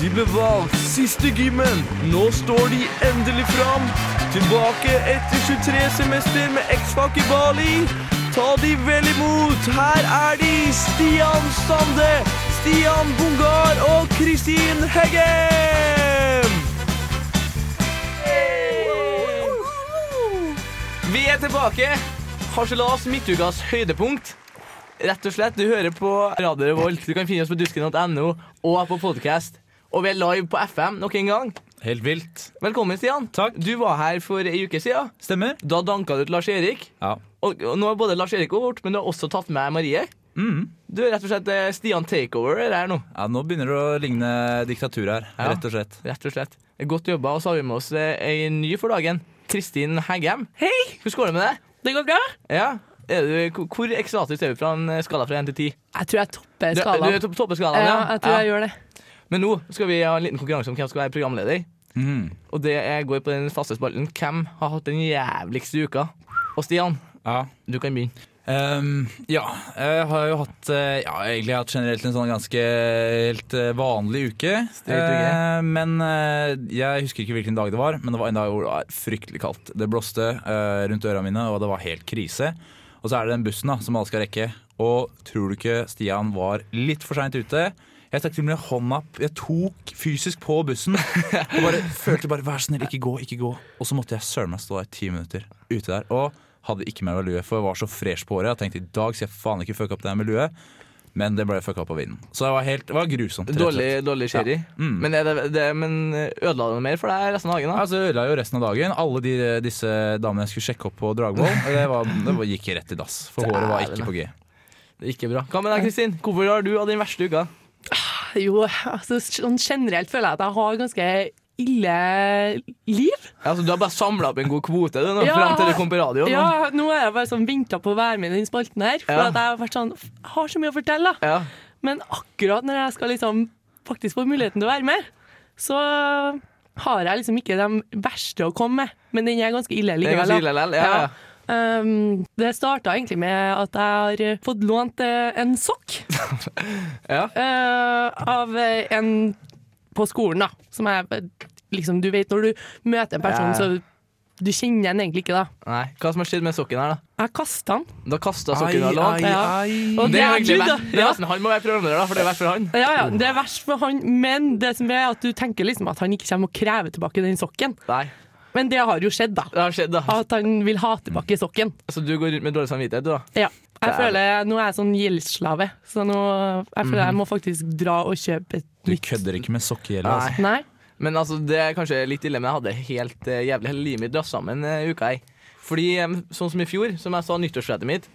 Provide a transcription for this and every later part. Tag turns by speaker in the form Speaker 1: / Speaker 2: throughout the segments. Speaker 1: De ble valgt siste gymmen. Nå står de endelig fram. Tilbake etter 23 semester med X-Fac i Bali. Ta de vel imot. Her er de Stian Sande, Stian Bungar og Kristin Heggem. Vi er tilbake. Harselas midtukas høydepunkt. Rett og slett, Du hører på Radio Revolt. Du kan finne oss på dusken.no og på podkast. Og vi er live på FM nok en gang.
Speaker 2: Helt vilt.
Speaker 1: Velkommen, Stian.
Speaker 2: Takk.
Speaker 1: Du var her for ei uke siden.
Speaker 2: Stemmer?
Speaker 1: Da danka du ut Lars Erik.
Speaker 2: Ja.
Speaker 1: Og, og nå er både Lars Erik og bort, men du har også tatt med Marie. Du er rett og slett eh, Stian Takeover er her nå.
Speaker 2: ja. Nå begynner det å ligne diktatur her,
Speaker 1: Ja.
Speaker 2: rett og slett.
Speaker 1: Rett og slett. Godt jobba. Og så har vi med oss eh, ei ny for dagen. Kristin Heggem. Hei! Hvordan går det med deg?
Speaker 3: Det går bra.
Speaker 1: Ja. Er du, hvor- hvor ekstatisk er du fra en eh, skala fra 1 til 10?
Speaker 3: Jeg tror jeg topper
Speaker 1: Du, du
Speaker 3: skalaen.
Speaker 1: er topp- topp i skalaen,
Speaker 3: ja, jeg tror jeg gjør det.
Speaker 1: Men nå skal vi ha en liten konkurranse om hvem som skal være programleder.
Speaker 2: Mhm.
Speaker 1: Og det er- går på den faste spalten Hvem har hatt den jævligste uka? Og Stian,
Speaker 2: Ja.
Speaker 1: du kan begynne.
Speaker 2: Ehm, ja, jeg har jo hatt eh, Ja, egentlig har jeg hatt generelt en sånn ganske helt eh, vanlig uke.
Speaker 1: Straight uke.
Speaker 2: Eh, men eh, jeg husker ikke hvilken dag det var, men det var en dag hvor det var fryktelig kaldt. Det blåste eh, rundt øra mine, og det var helt krise. Og så er det den bussen da, som alle skal rekke. Og tror du ikke Stian var litt for seint ute? Jeg stakk til og med hånda opp. Jeg tok fysisk på bussen. Og bare følte bare 'vær så snill, ikke gå, ikke gå'. Og så måtte jeg søren meg stå i ti minutter ute der. Og hadde ikke med meg lue, for jeg var så fresh på håret. Jeg tenkte i dag skal jeg faen ikke fucke opp det her med lue. Men det ble fucka opp av vinden. Så det var helt, det var grusomt. rett og slett.
Speaker 1: Dårlig, dårlig sherry.
Speaker 3: Mm.
Speaker 1: Men, er det, det, men eh, ødela det noe mer for deg resten av dagen? da?
Speaker 2: Altså, jeg ødela jo resten av dagen. Alle de, disse damene jeg skulle sjekke opp på Dragvoll, det, var, det var- gikk rett i dass. For håret var ikke på G.
Speaker 1: Det er Ikke bra. Hva med deg, Kristin? Hvorfor har du hatt den verste uka?
Speaker 3: Jo, altså, sånn generelt føler jeg at jeg har ganske ille liv.
Speaker 1: Altså, du har bare samla opp en god kvote du, nå,
Speaker 3: Ja.
Speaker 1: frem til du kom på radioen.
Speaker 3: Ja,
Speaker 1: nå.
Speaker 3: nå er jeg bare sånn venta på å være med i den spalten her. For
Speaker 1: Ja.
Speaker 3: at jeg har vært sånn "F- Har så mye å fortelle, da.
Speaker 1: Ja.
Speaker 3: Men akkurat når jeg skal liksom faktisk få muligheten til å være med, så har jeg liksom ikke de verste å komme med. Men den er ganske ille
Speaker 1: Det er
Speaker 3: likevel.
Speaker 1: ganske
Speaker 3: da.
Speaker 1: ille likevel, ja, ja.
Speaker 3: Um, det starta egentlig med at jeg har fått lånt eh, en sokk
Speaker 1: Ja.
Speaker 3: eh, av eh, en på skolen, da. Som jeg liksom Du vet når du møter en person,
Speaker 1: Ja.
Speaker 3: så du kjenner den egentlig ikke, da.
Speaker 1: Nei. Hva som har skjedd med sokken her, da?
Speaker 3: Jeg kasta den.
Speaker 1: Da kasta sokken du har lånt.
Speaker 3: ai. Ja. Og
Speaker 1: Det er
Speaker 3: jeg
Speaker 1: egentlig
Speaker 3: trodde-
Speaker 1: verst. Det er nesten han må være programleder, da, for det er verst for han.
Speaker 3: Ja, ja, det er verst for han, men det som er at du tenker liksom at han ikke kommer og krever tilbake den sokken.
Speaker 1: Nei,
Speaker 3: Men det har jo skjedd, da.
Speaker 1: det har skjedd, da.
Speaker 3: At han vil ha tilbake sokken.
Speaker 1: Så Altså, du går rundt med dårlig samvittighet, du, da?
Speaker 3: Ja. Jeg
Speaker 1: Det er-
Speaker 3: føler, Nå er jeg sånn gjeldsslave, så nå jeg føler jeg må faktisk dra og kjøpe et
Speaker 2: Du
Speaker 3: nytt.
Speaker 2: kødder ikke med sokkegjelda,
Speaker 1: Nei.
Speaker 2: altså.
Speaker 3: Nei?
Speaker 1: Men altså, det er kanskje litt ille, men jeg hadde helt eh, jævlig hele livet mitt dratt sammen eh, uka ei. Fordi eh, sånn som i fjor, som jeg sa, nyttårsrettet mitt,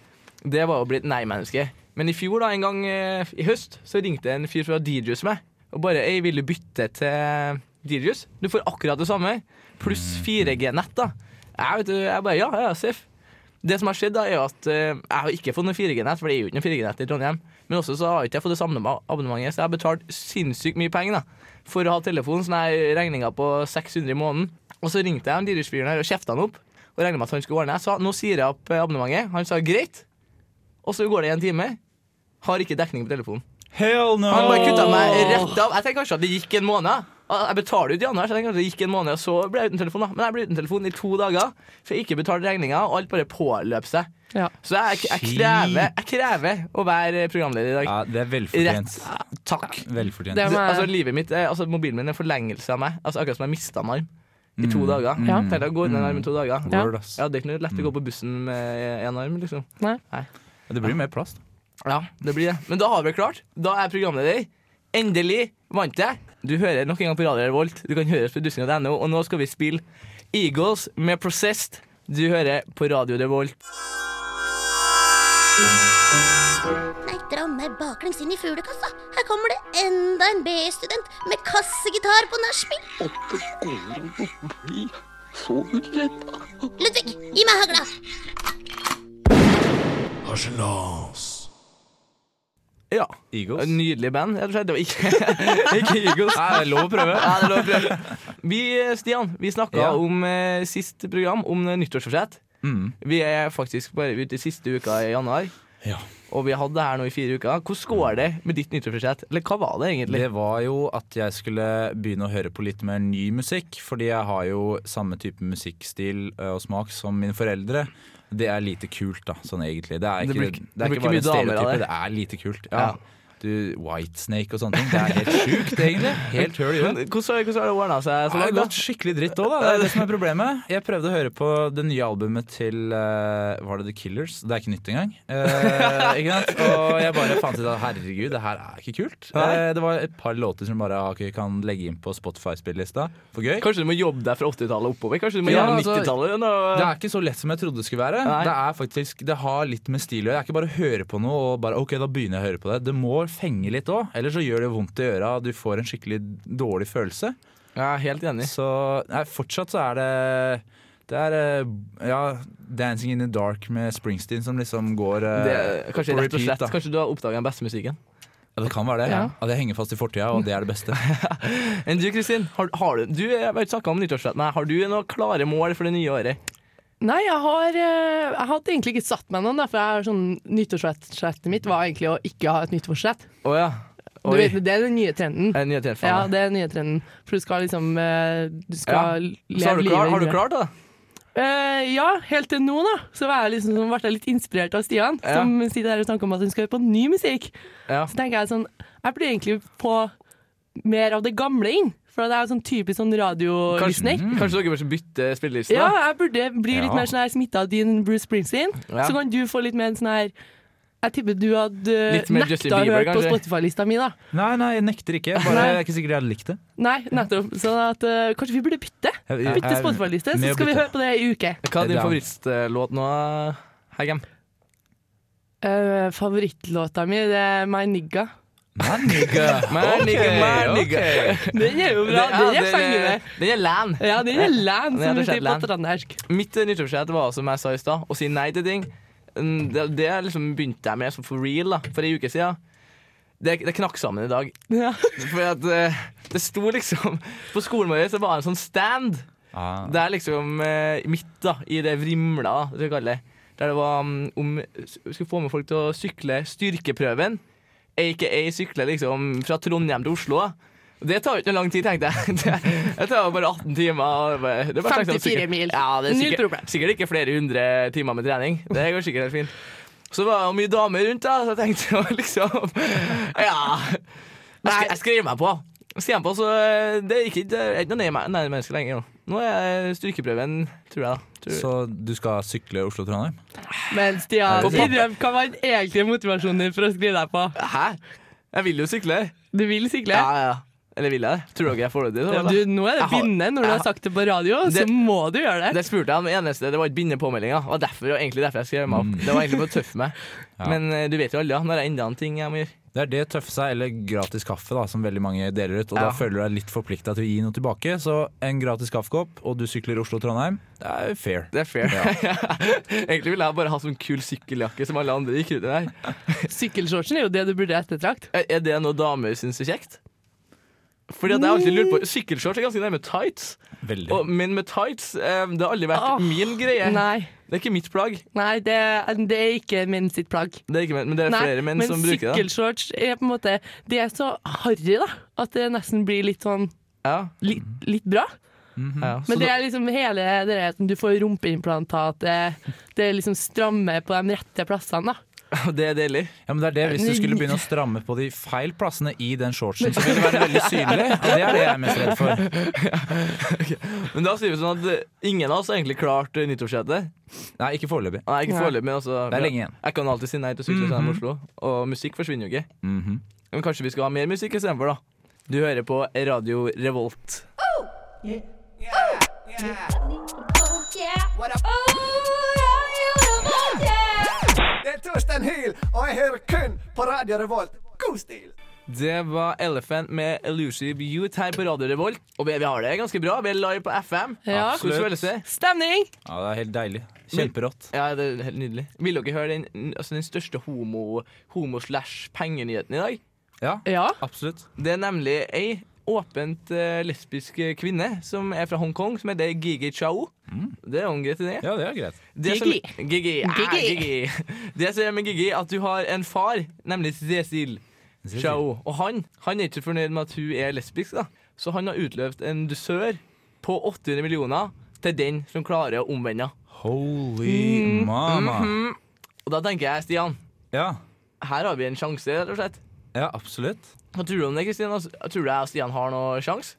Speaker 1: det var å bli et nei-menneske. Men i fjor, da, en gang eh, i høst, så ringte en fyr fra DJs meg og bare Ei, vil du bytte til DJs? Du får akkurat det samme, pluss 4G-nett, da. Jeg vet du, jeg bare Ja, ja, seff. Det som har skjedd, da, er jo at eh, jeg har ikke fått noe 4G-nett, for det er jo ikke noe 4G-nett i Trondheim. Men også så har ikke jeg fått det samme abonnement- abonnementet, så jeg har betalt sinnssykt mye penger da, for å ha telefonen. Sånn her regninga på 600 i måneden. Og så ringte jeg Dyrhusfyren her og kjefta han opp. Og regna med at han skulle ordne. Jeg sa nå sier jeg opp eh, abonnementet. Han sa greit. Og så går det en time. Har ikke dekning på telefonen.
Speaker 2: Hell no!
Speaker 1: Han bare kutta meg rett av. Jeg tenker kanskje at det gikk en måned. Jeg betaler jo i januar, så jeg tenker kanskje det gikk en måned, og så ble jeg uten telefon. da Men jeg ble uten telefon i to dager, for jeg ikke betalte regninga, og alt bare påløp seg.
Speaker 3: Ja.
Speaker 1: Så jeg, jeg, krever, jeg krever å være programleder i dag.
Speaker 2: Ja, det er velfortjent.
Speaker 1: Takk.
Speaker 2: Velfortjent.
Speaker 3: Det
Speaker 1: Det,
Speaker 3: må jeg-
Speaker 1: altså, livet mitt, er- altså, mobilen min er en forlengelse av meg. Altså, akkurat som jeg mista en arm i to dager.
Speaker 3: Ja.
Speaker 1: Tenk deg å gå uten en arm i to dager.
Speaker 3: Ja.
Speaker 2: Mm. Word, ass. Mm.
Speaker 1: Ja, det er ikke noe lett å gå på bussen med én arm, liksom.
Speaker 3: Nei.
Speaker 2: Det blir jo mer plass, da.
Speaker 1: Ja, det blir det. Men da har vi det klart. Da er jeg programleder. Endelig vant jeg. Du hører nok en gang på Radio Revolt. Du kan høre oss på dusken.no, og nå skal vi spille Eagles med Processed. Du hører på Radio Revolt.
Speaker 4: Nei, dra meg baklengs inn i fuglekassa. Her kommer det enda en B-student med kassegitar på nachspiel. Ludvig, gi meg hagla.
Speaker 1: Ja.
Speaker 2: Eagles.
Speaker 1: Et Nydelig band, rett og slett. Det var ikke, ikke Eagles.
Speaker 2: Nei, det er lov å prøve.
Speaker 1: Ja, det er lov å prøve. Vi, eh, Stian, vi snakka
Speaker 2: Ja.
Speaker 1: om eh,
Speaker 2: Mm.
Speaker 1: sist program, om nyttårsforsett. Vi er faktisk bare ute i siste uka i januar.
Speaker 2: Ja.
Speaker 1: Og vi har hatt det her nå i fire uker. Hvordan går det med ditt nyttårsforsett? Eller hva var det egentlig?
Speaker 2: Det var jo at jeg skulle begynne å høre på litt mer ny musikk, fordi jeg har jo samme type musikkstil ø, og smak som mine foreldre. Det er lite kult, da, sånn egentlig. Det er
Speaker 1: Det
Speaker 2: ikke,
Speaker 1: blir
Speaker 2: det
Speaker 1: ikke-
Speaker 2: er
Speaker 1: det blir ikke
Speaker 2: ikke bare
Speaker 1: mye damer av det.
Speaker 2: stereotyper, det er lite kult. Ja. Du, Whitesnake og sånne ting. Det er helt sjukt, egentlig. Helt høl i huet.
Speaker 1: Men hvordan, hvordan har det ordna seg? Så
Speaker 2: Det har
Speaker 1: langt,
Speaker 2: gått skikkelig dritt òg, da. Det er det som er problemet. Jeg prøvde å høre på det nye albumet til eh, Var det The Killers? Det er ikke nytt engang. Eh, ikke sant? Og jeg bare fant ut at herregud, det her er ikke kult.
Speaker 1: Nei.
Speaker 2: Eh, det var et par låter som bare ah, ok, kan legge inn på Spotify-spillelista for gøy.
Speaker 1: da? Kanskje du må jobbe deg fra 80-tallet oppover? Kanskje du må
Speaker 2: Ja,
Speaker 1: gjøre
Speaker 2: altså,
Speaker 1: 90-tallet? igjen, og-
Speaker 2: Det er ikke så lett som jeg trodde det skulle være.
Speaker 1: Nei.
Speaker 2: Det er faktisk, det har litt med stil å gjøre. Det er ikke bare å høre på noe og bare ok, da begynner jeg å høre på det. Det må fenge litt òg, ellers så gjør det vondt i øra. Du får en skikkelig dårlig følelse.
Speaker 1: Jeg er helt enig.
Speaker 2: Så nei, fortsatt så er det Det er eh, ja, 'Dancing in the Dark' med Springsteen som liksom går eh,
Speaker 1: Det, er- kanskje
Speaker 2: på
Speaker 1: rett og slett
Speaker 2: repeat, da.
Speaker 1: Kanskje du har oppdaga den beste musikken.
Speaker 2: Ja, det kan være det. Ja.
Speaker 1: Ja.
Speaker 2: det henger fast i fortida, og det er det beste.
Speaker 1: Enn du, Kristin? Har, har du, du jeg har ikke snakket om nyttårsforsett, men har du noen klare mål for det nye året?
Speaker 3: Nei, jeg har eh, Jeg hadde egentlig ikke satt meg noen, da, for jeg har sånn nyttårsforsettet mitt var egentlig å ikke ha et nyttårsforsett.
Speaker 1: Å ja.
Speaker 3: Du
Speaker 1: Oi. Eh,
Speaker 3: vet, det er den nye trenden.
Speaker 1: Er det nye telefoner?
Speaker 3: Ja, det er den nye trenden. For du skal liksom eh, Du skal leve
Speaker 1: Så har du,
Speaker 3: livet
Speaker 1: klar, har du
Speaker 3: videre.
Speaker 1: klart det?
Speaker 3: Eh, ja, helt til nå, da. Så var jeg liksom, sånn- ble jeg litt inspirert av Stian,
Speaker 1: Ja.
Speaker 3: som sitter her og snakker om at hun skal høre på ny musikk.
Speaker 1: Ja.
Speaker 3: Så tenker jeg sånn Jeg burde egentlig få mer av det gamle inn. For det er sånn typisk sånn
Speaker 1: Kanskje, Mhm. Mm.
Speaker 3: radiolyssning.
Speaker 1: kanskje dere burde bytte spilleliste?
Speaker 3: Ja,
Speaker 1: da?
Speaker 3: jeg burde bli litt
Speaker 2: Ja.
Speaker 3: mer sånn her smitta av din Bruce Springsteen.
Speaker 1: Ja.
Speaker 3: Så kan du få litt mer en sånn her Jeg tipper du hadde
Speaker 1: Litt mer Justin
Speaker 3: nekta å
Speaker 1: Bieber,
Speaker 3: høre på
Speaker 1: kanskje?
Speaker 3: Spotify-lista mi, da.
Speaker 2: Nei, nei, jeg nekter ikke. Bare,
Speaker 3: Nei.
Speaker 2: jeg er ikke sikkert jeg hadde likt det.
Speaker 3: Nei, nettopp. Sånn at eh, kanskje vi burde bytte.
Speaker 2: Jeg- jeg-
Speaker 3: Bytte Spotify-liste,
Speaker 2: med
Speaker 3: så
Speaker 2: å
Speaker 3: skal vi
Speaker 2: bytte.
Speaker 3: høre på det i uke.
Speaker 1: Hva er din
Speaker 2: Ja.
Speaker 1: favorittlåt nå, Heggem?
Speaker 3: Eh, favorittlåta mi det er My Nigga.
Speaker 2: Man, nigga.
Speaker 1: Man, nigga,
Speaker 2: Ok,
Speaker 1: man,
Speaker 2: ok.
Speaker 1: nigga.
Speaker 3: Den er jo bra.
Speaker 1: Det- ja,
Speaker 3: Den er
Speaker 1: det-
Speaker 3: fengende.
Speaker 1: Den er lan.
Speaker 3: Ja, den er land,
Speaker 1: Den er rett
Speaker 3: som vi
Speaker 1: og slett
Speaker 3: sier på
Speaker 1: land.
Speaker 3: trøndersk.
Speaker 1: Mitt eh, nyttårsforsett var som jeg sa i stad, å si nei til ting. Mm, Det, det liksom begynte jeg med som for real da, for ei uke siden. Det, det knakk sammen i dag.
Speaker 3: Ja.
Speaker 1: For at, eh, det sto liksom På skolen vår så var det en sånn stand.
Speaker 2: Ah.
Speaker 1: Det er liksom eh, midt da, i det vrimla, da, skal vi kalle det. Der det var mm, om Vi skulle få med folk til å sykle styrkeprøven. AKA sykle liksom fra Trondheim til Oslo. da. Det tar jo ikke noe lang tid, tenkte jeg. Det, det tar jo bare 18 timer. og bare- det er bare å tenke seg om
Speaker 3: 54
Speaker 1: sykkel.
Speaker 3: mil.
Speaker 1: Ja, det er
Speaker 3: Null
Speaker 1: sikkert,
Speaker 3: problem.
Speaker 1: sikkert ikke flere hundre timer med trening. Det går sikkert helt fint. Så var det jo mye damer rundt, da, så jeg tenkte jo liksom Ja. Jeg, sk jeg skriver meg på. Jeg Skriver meg på, så eh, det gikk ikke, det er ikke noe nei- nei- menneske lenger nå. Nå er styrkeprøven, tror jeg. da tror
Speaker 2: Så du skal sykle Oslo-Trondheim?
Speaker 3: Men Stian,
Speaker 1: På pappa-
Speaker 3: innrøm, hva var den egentlige motivasjonen din for å skrive deg på?
Speaker 1: Hæ? Jeg vil jo sykle.
Speaker 3: Du vil sykle?
Speaker 1: Ja, ja. Eller vil jeg det? Tror dere jeg får det til?
Speaker 3: Ja,
Speaker 1: eller?
Speaker 3: du, nå er det
Speaker 1: Jeg har-
Speaker 3: bindende. Når du
Speaker 1: jeg
Speaker 3: har sagt det på radio, så
Speaker 1: Det-
Speaker 3: må du gjøre det.
Speaker 1: Det spurte jeg om eneste, det var ikke bindende påmeldinger. Det var derfor, det var egentlig derfor jeg skrev meg opp. Det var egentlig for å tøffe meg.
Speaker 2: Ja.
Speaker 1: Men eh, du vet jo alle, da, når det er enda en ting jeg må gjøre.
Speaker 2: Det er det tøffe seg, eller gratis kaffe, da, som veldig mange deler ut. Og
Speaker 1: Ja.
Speaker 2: da føler du deg litt forplikta til å gi noe tilbake. Så en gratis kaffekopp, og du sykler Oslo-Trondheim, det er fair.
Speaker 1: Det er fair. egentlig ville jeg bare ha sånn kul sykkeljakke som alle andre gikk rundt i der.
Speaker 3: Sykkelshortsen er jo det du burde ettertrakt.
Speaker 1: Er- Er det noe damer syns er kjekt? Fordi at jeg har alltid lurt på Sykkelshorts er ganske nærme tights.
Speaker 2: Veldig.
Speaker 1: Og menn med tights eh, Det har aldri vært
Speaker 3: Åh,
Speaker 1: min greie.
Speaker 3: Nei,
Speaker 1: Det er ikke mitt plagg.
Speaker 3: nei det, det er ikke menn sitt plagg.
Speaker 1: Det er ikke menn, men det er
Speaker 3: Nei,
Speaker 1: flere menn som bruker det.
Speaker 3: sykkelshorts er på en måte Det er så harry, da, at det nesten blir litt sånn
Speaker 1: Ja,
Speaker 3: litt, litt bra.
Speaker 1: ja. Så
Speaker 3: Men det er liksom hele det der at du får rumpeimplantat, det, det er liksom stramme på de rette plassene, da.
Speaker 1: da- det er deilig.
Speaker 2: Ja, men det er det, Hvis du skulle begynne å stramme på de feil plassene i den shortsen, så ville det være veldig synlig. Og det er det jeg er mest redd for.
Speaker 1: Men da sier vi sånn at eh, ingen av oss har egentlig klart eh, nyttårssettet.
Speaker 2: Nei, ikke foreløpig.
Speaker 1: Nei, ikke
Speaker 3: Nei. Mhm.
Speaker 1: foreløpig, men altså
Speaker 2: Det er lenge igjen.
Speaker 1: Jeg kan alltid si nei til å sykle til Oslo, og musikk forsvinner jo ikke.
Speaker 2: Mhm.
Speaker 1: Men kanskje vi skal ha mer musikk istedenfor, da. Du hører på Radio Revolt.
Speaker 4: Oh, yeah. Oh, yeah, yeah, yeah.
Speaker 5: Det er Torstein Hyl, og jeg hører kun på Radio Revolt. God stil!
Speaker 1: Det var Elephant med Elusive Youth her på Radio Revolt. Og vi vi har det ganske bra. Vi er live på FM.
Speaker 3: Ja.
Speaker 1: Hvordan føles det?
Speaker 3: Stemning!
Speaker 2: Ja, Det er helt deilig. Kjemperått.
Speaker 1: Ja, det er helt nydelig. Vil dere høre den, altså den største homo- homo-slash-pengenyheten i dag?
Speaker 2: Ja,
Speaker 3: Ja.
Speaker 2: absolutt.
Speaker 1: Det er nemlig ei åpent eh, lesbisk kvinne som er fra Hongkong, som heter Gigi Chao. Det er jo en greit idé.
Speaker 2: Ja, det er greit.
Speaker 1: Det som-
Speaker 3: Gigi.
Speaker 1: Gigi. Ah,
Speaker 3: Gigi.
Speaker 1: Gigi. Det som er med Gigi, at du har en far, nemlig Cecil Chao. Og han, han er ikke så fornøyd med at hun er lesbisk, da. så han har utløst en dusør på 800 millioner til den som klarer å omvende henne.
Speaker 2: Holy
Speaker 1: Mm,
Speaker 2: mama.
Speaker 1: mhm. Og da tenker jeg, Stian,
Speaker 2: Ja,
Speaker 1: her har vi en sjanse, rett og slett.
Speaker 2: ja absolutt.
Speaker 1: Hva tror du om det, Kristin? Altså, Tror du jeg og Stian har noe sjanse?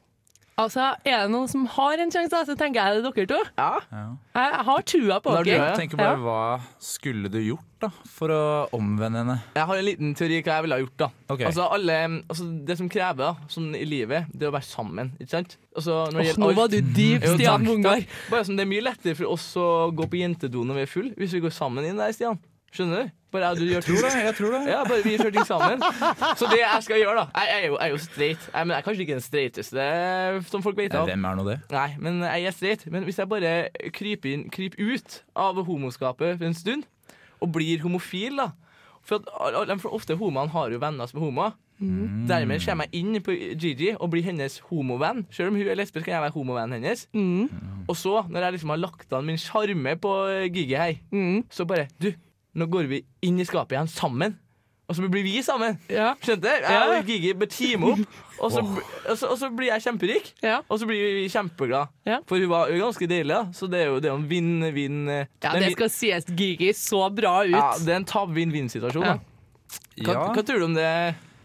Speaker 3: Altså, Er det noen som har en sjanse, da, så tenker jeg det er dere to.
Speaker 1: Ja.
Speaker 3: Jeg jeg har trua på
Speaker 1: Da tror
Speaker 3: dere.
Speaker 1: Ja,
Speaker 2: Jeg tenker
Speaker 3: ja.
Speaker 2: bare, hva skulle du gjort da, for å omvende henne?
Speaker 1: Jeg har en liten teori hva jeg ville ha gjort. da
Speaker 2: Ok.
Speaker 1: altså, alle, altså Det som krever da sånn i livet, det er å være sammen. Ikke sant? Altså, når det
Speaker 3: Åh,
Speaker 1: gjelder
Speaker 3: nå
Speaker 1: alt-
Speaker 3: var du dyp,
Speaker 1: Jo, takk,
Speaker 3: Stian Mungar.
Speaker 1: takk. Bare sånn, Det er mye lettere for oss å gå på jentedo når vi er full hvis vi går sammen inn der, Stian. Skjønner du? Bare jeg og du gjør
Speaker 2: Tror det, jeg tror det.
Speaker 1: Ja, bare vi gjør ting sammen. Så det jeg skal gjøre, da Jeg, jeg, er, jo, jeg er jo straight. Jeg, men jeg er kanskje ikke den straighteste som folk vet
Speaker 2: Ja,
Speaker 1: om.
Speaker 2: Hvem er nå det?
Speaker 1: Nei, men jeg er straight. Men hvis jeg bare kryper, inn, kryper ut av homoskapet for en stund, og blir homofil, da For, at, all- all- for ofte homene har jo venner som er homoer. Dermed kommer jeg inn på Gigi og blir hennes homovenn. Selv om hun er lesbisk, kan jeg være homovennen hennes.
Speaker 3: Mm,
Speaker 1: Og så, når jeg liksom har lagt an min sjarme på Gigi her,
Speaker 3: mm,
Speaker 1: så bare Du, nå går vi inn i skapet igjen sammen. Og så blir vi sammen.
Speaker 3: Ja,
Speaker 1: Skjønte? Jeg og Gigi bør teame opp, og så, og, så, og så blir jeg kjemperik.
Speaker 3: ja.
Speaker 1: Og så blir vi kjempeglad
Speaker 3: Ja.
Speaker 1: For hun var jo ganske deilig, da. Så det er jo det er jo en vinn-vinn eh,
Speaker 3: ja
Speaker 1: det er
Speaker 3: det
Speaker 1: en vin-
Speaker 3: skal sies Gigi så bra ut.
Speaker 1: ja, det er en tab-vinn-vinn-situasjon. da. Hva,
Speaker 2: Ja,
Speaker 1: hva tror du om det,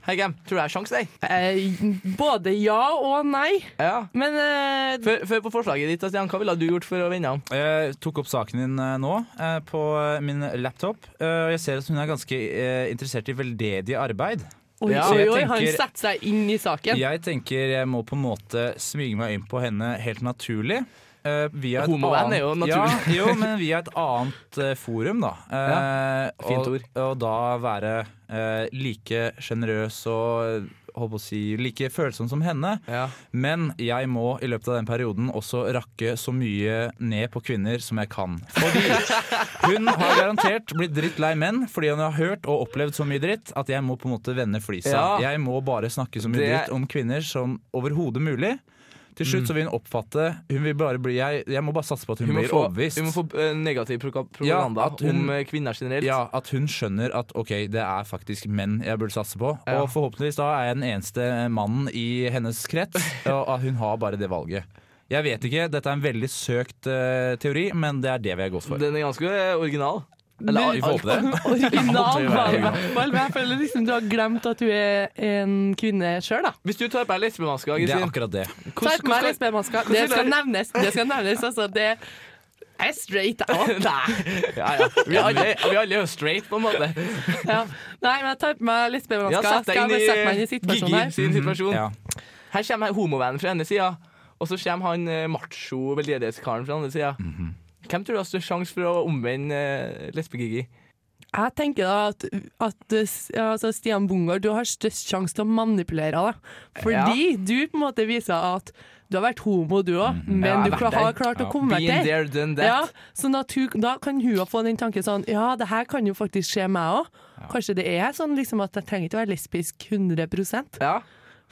Speaker 1: Heggem? Tror du jeg har sjans, deg?
Speaker 3: Eh, både ja og nei.
Speaker 1: Ja.
Speaker 3: Men eh,
Speaker 1: Før, før på forslaget ditt, da, Stian, hva ville du gjort for å vinne ham?
Speaker 2: Jeg tok opp saken din eh, nå eh, på eh, min laptop. eh, Og jeg ser at hun er ganske eh, interessert i veldedig arbeid.
Speaker 3: Oi,
Speaker 1: Ja,
Speaker 3: oi,
Speaker 2: jeg
Speaker 3: oi,
Speaker 2: tenker-
Speaker 3: han setter seg inn i saken.
Speaker 2: Jeg tenker jeg må på en måte smyge meg inn på henne helt naturlig. eh, via et
Speaker 1: Homovenn
Speaker 2: annet-
Speaker 1: er jo naturlig.
Speaker 2: Ja, jo, men via et annet eh, forum, da. Eh,
Speaker 1: fint
Speaker 2: og,
Speaker 1: ord.
Speaker 2: og da være eh, like sjenerøs og eh, holdt på å si, like følsom som henne.
Speaker 1: Ja.
Speaker 2: Men jeg må i løpet av den perioden også rakke så mye ned på kvinner som jeg kan. Fordi hun har garantert blitt drittlei menn fordi hun har hørt og opplevd så mye dritt at jeg må på en måte vende flisa.
Speaker 1: Ja.
Speaker 2: Jeg må bare snakke så mye
Speaker 1: Det- Mm.
Speaker 2: dritt om kvinner som overhodet mulig. Til slutt så vil hun oppfatte hun vil bare bli, jeg, jeg må bare satse på at hun,
Speaker 1: Hun må
Speaker 2: blir
Speaker 1: få,
Speaker 2: overbevist.
Speaker 1: hun må få eh, negativ proka-
Speaker 2: Ja,
Speaker 1: propaganda
Speaker 2: at hun-
Speaker 1: om eh, kvinner generelt.
Speaker 2: Ja, At hun skjønner at ok, det er faktisk menn jeg burde satse på.
Speaker 1: Ja.
Speaker 2: Og forhåpentligvis da er jeg den eneste mannen i hennes krets, og at hun har bare det valget. Jeg vet ikke, dette er en veldig søkt eh, teori, men det er det vi har gått for.
Speaker 1: Den er ganske eh, original.
Speaker 2: vi får håpe det.
Speaker 3: Original
Speaker 2: det var
Speaker 3: var
Speaker 2: det.
Speaker 3: i hvert fall. Men jeg føler liksom du har glemt at du er en kvinne sjøl, da.
Speaker 1: Hvis du tar på deg lesbemaska,
Speaker 2: Det er
Speaker 1: Kristin
Speaker 2: akkurat det.
Speaker 3: Ta på meg
Speaker 1: hvordan-
Speaker 3: lesbemaska. Det
Speaker 1: hvordan
Speaker 3: skal
Speaker 1: er-
Speaker 3: nevnes. Det skal nevnes, altså. Det jeg er straight, jeg òg.
Speaker 1: Nei. Ja, ja. Vi er alle- vi er alle jo straight, på en måte.
Speaker 3: Ja. Nei, men jeg tar på meg
Speaker 1: Ja,
Speaker 3: lesbemaska.
Speaker 1: sett
Speaker 3: Skal
Speaker 1: deg
Speaker 3: jeg
Speaker 1: inn
Speaker 3: bare sette meg inn
Speaker 1: i
Speaker 3: i situasjonen
Speaker 1: Gigi
Speaker 3: her?
Speaker 1: sin situasjon.
Speaker 2: Ja.
Speaker 1: Her kommer homovennen fra ene sida, og så kommer han eh, macho veldedighetskaren fra andre sida.
Speaker 2: Mhm.
Speaker 1: Hvem tror du har størst sjanse for å omvende eh, lesbe-Gigi?
Speaker 3: Jeg tenker da at, at eh, s- altså Stian Bungard, du har størst sjanse til å manipulere deg. Fordi du på en måte viser at du har vært homo, du òg, men
Speaker 1: Mm, Ja, jeg har
Speaker 3: du
Speaker 1: vært
Speaker 3: kla- har
Speaker 1: der.
Speaker 3: klart å
Speaker 2: Ja.
Speaker 3: konvertere.
Speaker 1: Been there, done that.
Speaker 3: Ja, sånn at hun, da kan hun jo få den tanken sånn Ja, det her kan jo faktisk skje meg òg. Kanskje det er sånn liksom at jeg trenger ikke å være lesbisk 100
Speaker 1: Ja,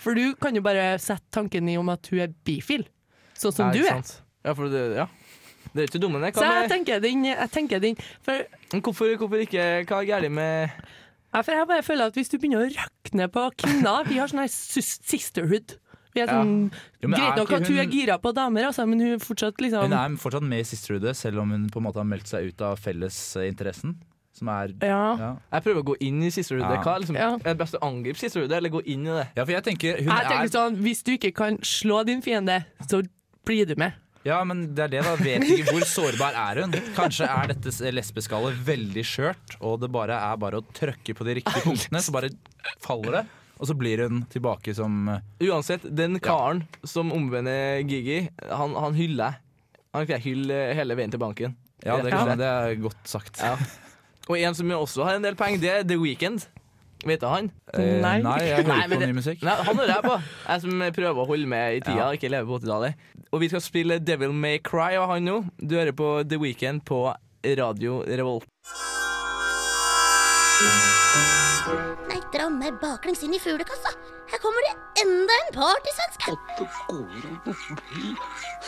Speaker 3: For du kan jo bare sette tanken i om at hun er bifil, sånn som
Speaker 1: ja,
Speaker 3: du
Speaker 1: ikke
Speaker 3: er.
Speaker 1: sant? Ja, for det, ja. det er jo ikke dumme, det.
Speaker 3: Så jeg
Speaker 1: Hva med,
Speaker 3: tenker den, jeg tenker den for,
Speaker 1: Men hvorfor, hvorfor ikke? Hva er galt med
Speaker 3: ja, for jeg bare føler at hvis du begynner å rakne på kvinner Vi har sånn her sus- sisterhood. Vi er
Speaker 1: Ja.
Speaker 3: sånn,
Speaker 2: Jo, men er
Speaker 3: Greit nok
Speaker 2: ikke
Speaker 3: at hun er
Speaker 2: hun-
Speaker 3: gira på damer, altså, men hun er fortsatt liksom
Speaker 2: Hun er fortsatt med i Sisterhood, selv om hun på en måte har meldt seg ut av fellesinteressen. Som er
Speaker 3: ja.
Speaker 2: ja.
Speaker 1: Jeg prøver å gå inn i siste runde.
Speaker 2: Ja.
Speaker 1: Hva er, liksom,
Speaker 3: Ja.
Speaker 1: er det best å angripe siste runde, eller gå inn i det?
Speaker 2: ja, for jeg tenker hun
Speaker 3: Jeg tenker
Speaker 2: er
Speaker 3: sånn, hvis du ikke kan slå din fiende, så blir du med.
Speaker 2: Ja, men det er det, da. Vet ikke hvor sårbar er hun. Kanskje er dette lesbeskallet veldig skjørt, og det bare er bare å trøkke på de riktige punktene, så bare faller det. Og så blir hun tilbake som eh,
Speaker 1: Uansett, den karen som omvender Gigi, han, han hyller jeg. Han skal jeg hylle eh, hele veien til banken.
Speaker 2: Ja, det,
Speaker 1: Ja.
Speaker 2: kan, det er godt sagt.
Speaker 1: Ja. Og en som også har en del penger, det er The Weeknd. Vet du han?
Speaker 2: Eh,
Speaker 3: Nei.
Speaker 2: nei, jeg hører
Speaker 1: Nei, men
Speaker 2: på
Speaker 1: det-
Speaker 2: ny musikk.
Speaker 1: Nei, han hører jeg på. Jeg som prøver å holde med i tida, ikke leve på 80-tallet. Og vi skal spille Devil May Cry av han nå. Du hører på The Weekend på Radio Revolt.
Speaker 4: Nei, dra meg baklengs inn i fuglekassa. Her kommer det enda en partysvenske.
Speaker 6: at det foregikk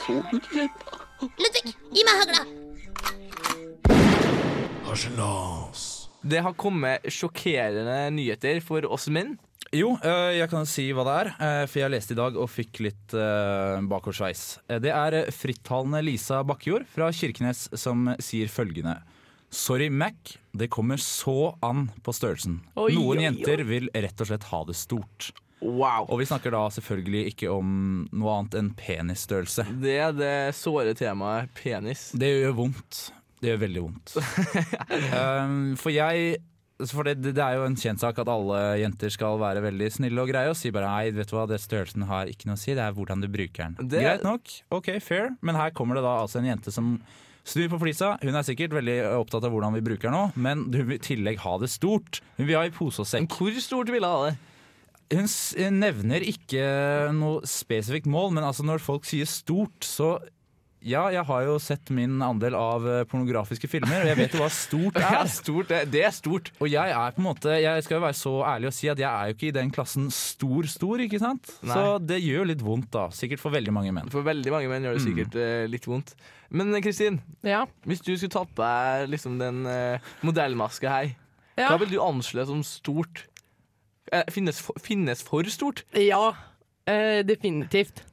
Speaker 6: så uredd.
Speaker 4: Ludvig, gi meg hagla.
Speaker 1: Det har kommet sjokkerende nyheter for oss menn.
Speaker 2: Jo, eh, jeg kan si hva det er, eh, for jeg leste i dag og fikk litt eh, bakoversveis. Eh, Det er eh, frittalende Lisa Bakkejord fra Kirkenes som sier følgende. Sorry, Mac. Det kommer så an på størrelsen.
Speaker 3: Oi, oi,
Speaker 2: Noen
Speaker 3: oi.
Speaker 2: jenter vil rett og slett ha det stort.
Speaker 1: Wow.
Speaker 2: Og vi snakker da selvfølgelig ikke om noe annet enn penisstørrelse.
Speaker 1: Det er det såre temaet penis.
Speaker 2: Det gjør vondt. Det gjør veldig vondt. um, for jeg altså for det, det er jo en kjent sak at alle jenter skal være veldig snille og greie og si bare nei, vet du hva, det størrelsen har ikke noe å si, det er hvordan du bruker den.
Speaker 1: Det-
Speaker 2: Greit nok, ok, fair, men her kommer det da altså en jente som snur på flisa. Hun er sikkert veldig opptatt av hvordan vi bruker den òg, men hun vil i tillegg ha det stort. Hun vil ha i pose og sekk.
Speaker 1: Men hvor stort ville jeg ha det?
Speaker 2: Hun s- nevner ikke noe spesifikt mål, men altså når folk sier stort, så ja, jeg har jo sett min andel av eh, pornografiske filmer, og jeg vet jo hva stort
Speaker 1: Det er
Speaker 2: er.
Speaker 1: stort. Det, det er stort.
Speaker 2: Og jeg er på en måte, jeg skal jo være så ærlig og si at jeg er jo ikke i den klassen stor-stor, ikke sant?
Speaker 1: Nei.
Speaker 2: Så det gjør jo litt vondt da, sikkert for veldig mange menn.
Speaker 1: For veldig mange menn gjør det sikkert eh, litt vondt. Men eh, Kristin,
Speaker 3: Ja.
Speaker 1: hvis du skulle tatt på deg liksom, den eh, modellmaska her,
Speaker 3: Ja.
Speaker 1: hva vil du anslå som stort? Eh, finnes, for- finnes for stort?
Speaker 3: ja. Eh, definitivt.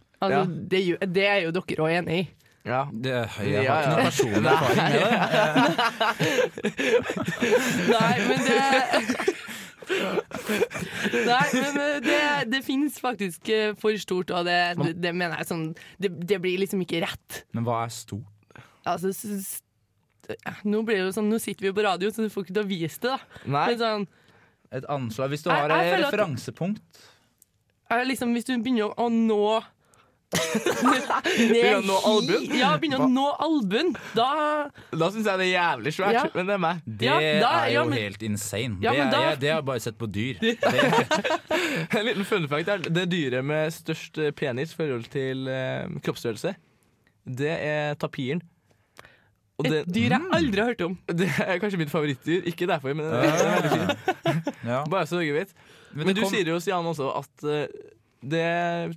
Speaker 1: Ja.
Speaker 3: Altså, det, er jo- det er jo dere òg enig i.
Speaker 1: Ja.
Speaker 2: Det, jeg
Speaker 1: Ja,
Speaker 2: har ikke
Speaker 1: ja.
Speaker 2: noe personlig erfaring med det.
Speaker 3: Nei, men det Nei, men eh, det, det finnes faktisk eh, for stort, og det, det, det mener jeg sånn det, det blir liksom ikke rett.
Speaker 2: Men hva er stort?
Speaker 3: Altså, s- s- nå blir det jo sånn, nå sitter vi jo på radio, så du får ikke til å vise det, da.
Speaker 1: Nei.
Speaker 3: Men sånn,
Speaker 2: Et anslag, hvis du
Speaker 3: Jeg-
Speaker 2: har
Speaker 3: jeg
Speaker 2: et
Speaker 3: føler at-
Speaker 2: referansepunkt.
Speaker 3: er liksom, hvis du begynner å nå Begynner
Speaker 1: Begynner å nå albuen?
Speaker 3: Ja, begynner å nå albuen. Da
Speaker 1: Da syns jeg det er jævlig svært,
Speaker 3: Ja.
Speaker 1: men det er meg.
Speaker 2: Det
Speaker 3: Ja, da-
Speaker 2: er jo
Speaker 3: ja, men-
Speaker 2: helt insane.
Speaker 3: Ja,
Speaker 2: det,
Speaker 3: men
Speaker 2: er,
Speaker 3: da-
Speaker 2: jeg, det har jeg bare sett på dyr. Det,
Speaker 1: En liten fun fact er det dyret med størst eh, penis i forhold til eh, kroppsstørrelse, det er tapiren. Og
Speaker 3: Et
Speaker 1: det,
Speaker 3: dyr jeg aldri har hørt om.
Speaker 1: det er kanskje mitt favorittdyr. Ikke derfor, men
Speaker 2: ja.
Speaker 1: bare så dere vet.
Speaker 2: Men,
Speaker 1: Men
Speaker 2: det
Speaker 1: du
Speaker 2: kom-
Speaker 1: sier jo, Stian, også at eh, det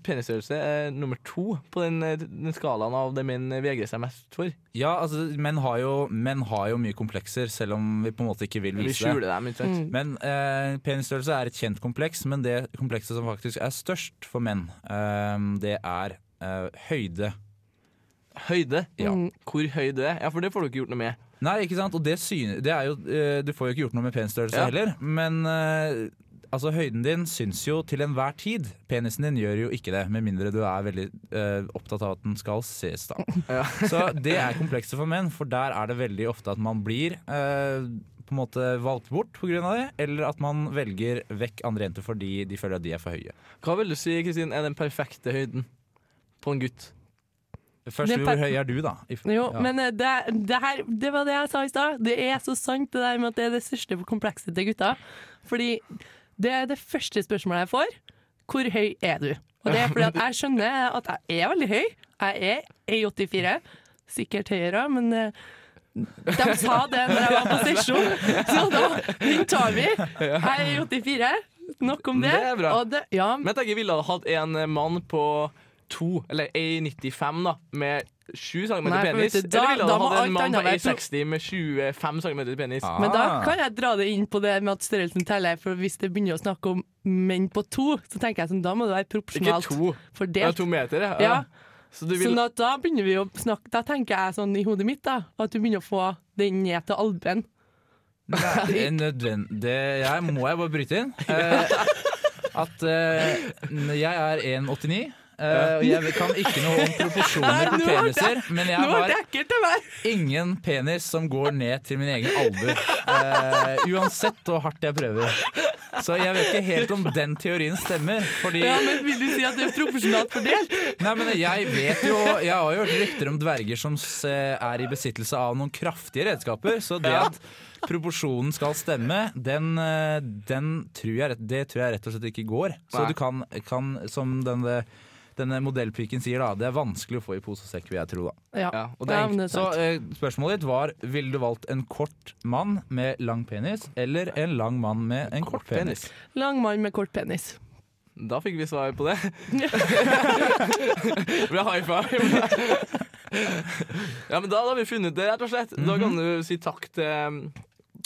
Speaker 1: penisstørrelse er nummer to på den, eh, den skalaen av det menn vegrer seg mest for.
Speaker 2: Ja, altså, menn har, jo, menn har jo mye komplekser, selv om vi på en måte ikke vil
Speaker 1: Vi
Speaker 2: vise det.
Speaker 1: skjuler dem, ikke
Speaker 3: Mm.
Speaker 1: sant?
Speaker 2: Men eh, Penisstørrelse er et kjent kompleks, men det komplekset som faktisk er størst for menn, eh, det er eh, høyde.
Speaker 1: Høyde.
Speaker 2: Ja.
Speaker 3: Mm.
Speaker 1: Hvor høy du er. Ja, for det får du ikke gjort noe med.
Speaker 2: Nei, ikke sant? Og det syne, det er jo, eh, du får jo ikke gjort noe med penisstørrelse
Speaker 1: Ja.
Speaker 2: heller, men eh, altså, høyden din syns jo til enhver tid. Penisen din gjør jo ikke det, med mindre du er veldig eh, opptatt av at den skal ses, da.
Speaker 1: Ja.
Speaker 2: Så det er komplekset for menn, for der er det veldig ofte at man blir eh, på en måte valgt bort pga. det, eller at man velger vekk andre jenter fordi de føler at de er for høye.
Speaker 1: Hva vil du si, Kristin, er den perfekte høyden på en gutt?
Speaker 2: Først,
Speaker 3: Det er
Speaker 2: hvor
Speaker 3: per-
Speaker 2: høy er du, da? If-
Speaker 3: Jo,
Speaker 2: ja.
Speaker 3: men eh, det, det, her, det var det jeg sa i stad. Det er så sant det der med at det er det største komplekset til gutta. Fordi det er det første spørsmålet jeg får. Hvor høy er du? Og det er fordi at jeg skjønner at jeg er veldig høy. Jeg er 1,84. Sikkert høyere, men eh, de sa det når jeg var på sesjon, så da, den tar vi. Jeg er 1,84. Nok om det.
Speaker 1: Det er bra.
Speaker 3: Og det, ja,
Speaker 1: Men jeg tenker jeg ville ha hatt en eh, mann på to, eller 1,95 da, med 7 cm
Speaker 3: Nei, for
Speaker 1: penis.
Speaker 3: vet du, da-
Speaker 1: eller ville
Speaker 3: da
Speaker 1: du
Speaker 3: må
Speaker 1: hatt
Speaker 3: alt
Speaker 1: en mann
Speaker 3: annet
Speaker 1: på
Speaker 3: være to-
Speaker 1: 1,60 med 25 cm penis?
Speaker 2: Ah.
Speaker 3: Men da kan jeg dra det inn på det med at størrelsen teller. For hvis det begynner å snakke om menn på to, så tenker jeg sånn, da må det være
Speaker 1: Ikke
Speaker 3: proporsjonalt
Speaker 1: to. Det er
Speaker 3: fordelt.
Speaker 1: to meter, ja.
Speaker 3: Ja.
Speaker 1: Så du vil
Speaker 3: Sånn at da begynner vi å snakke Da tenker jeg sånn i hodet mitt da at du begynner å få den ned til albuen.
Speaker 2: Nei, nødvend... Det jeg må jeg bare bryte inn. Eh, at eh, jeg er 1,89. eh, og jeg kan ikke noe om proporsjoner på
Speaker 3: Nå ble det-
Speaker 2: peniser, men jeg
Speaker 3: Nå ble
Speaker 2: har
Speaker 3: det ekkelt av meg!
Speaker 2: ingen penis som går ned til min egen albu. Eh, uansett hvor hardt jeg prøver. Så jeg vet ikke helt om den teorien stemmer. Fordi
Speaker 3: Ja, men vil du si at det er proporsjonalt fordelt?
Speaker 2: Nei, men jeg vet jo Jeg har jo hørt rykter om dverger som s- eh, er i besittelse av noen kraftige redskaper. Så det at proporsjonen skal stemme, den, eh, den tror jeg, rett- det tror jeg rett og slett ikke går. Så
Speaker 1: Nei.
Speaker 2: du kan, kan som denne, denne modellpiken sier, da, det er vanskelig å få i pose og sekk, vil jeg tro. da
Speaker 3: Ja.
Speaker 1: Ja, og det er
Speaker 3: ja,
Speaker 1: egentlig-
Speaker 3: men det er
Speaker 2: så
Speaker 3: sant.
Speaker 2: eh, spørsmålet ditt var Ville du valgt en kort mann med lang penis Eller en lang mann med en kort, penis?
Speaker 3: Lang mann med kort penis.
Speaker 1: Da fikk vi svar på det. Bra high five. Ja, men da, da har vi funnet det, rett og slett. Da
Speaker 2: Mhm.
Speaker 1: kan du si takk til um,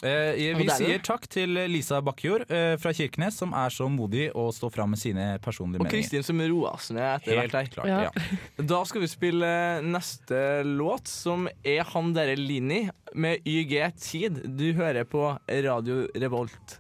Speaker 2: Eh,
Speaker 1: Og der
Speaker 2: vi
Speaker 1: er
Speaker 2: sier
Speaker 1: det.
Speaker 2: takk til Lisa Bakkejord eh, fra Kirkenes, som er så modig å stå fram med sine personlige
Speaker 1: Og Kristin som roer seg ned etter
Speaker 2: Helt
Speaker 1: hvert her.
Speaker 2: klart,
Speaker 3: Ja.
Speaker 2: ja.
Speaker 1: Da skal vi spille eh, neste låt, som er han derre Linni med YG Tid. Du hører på Radio Revolt.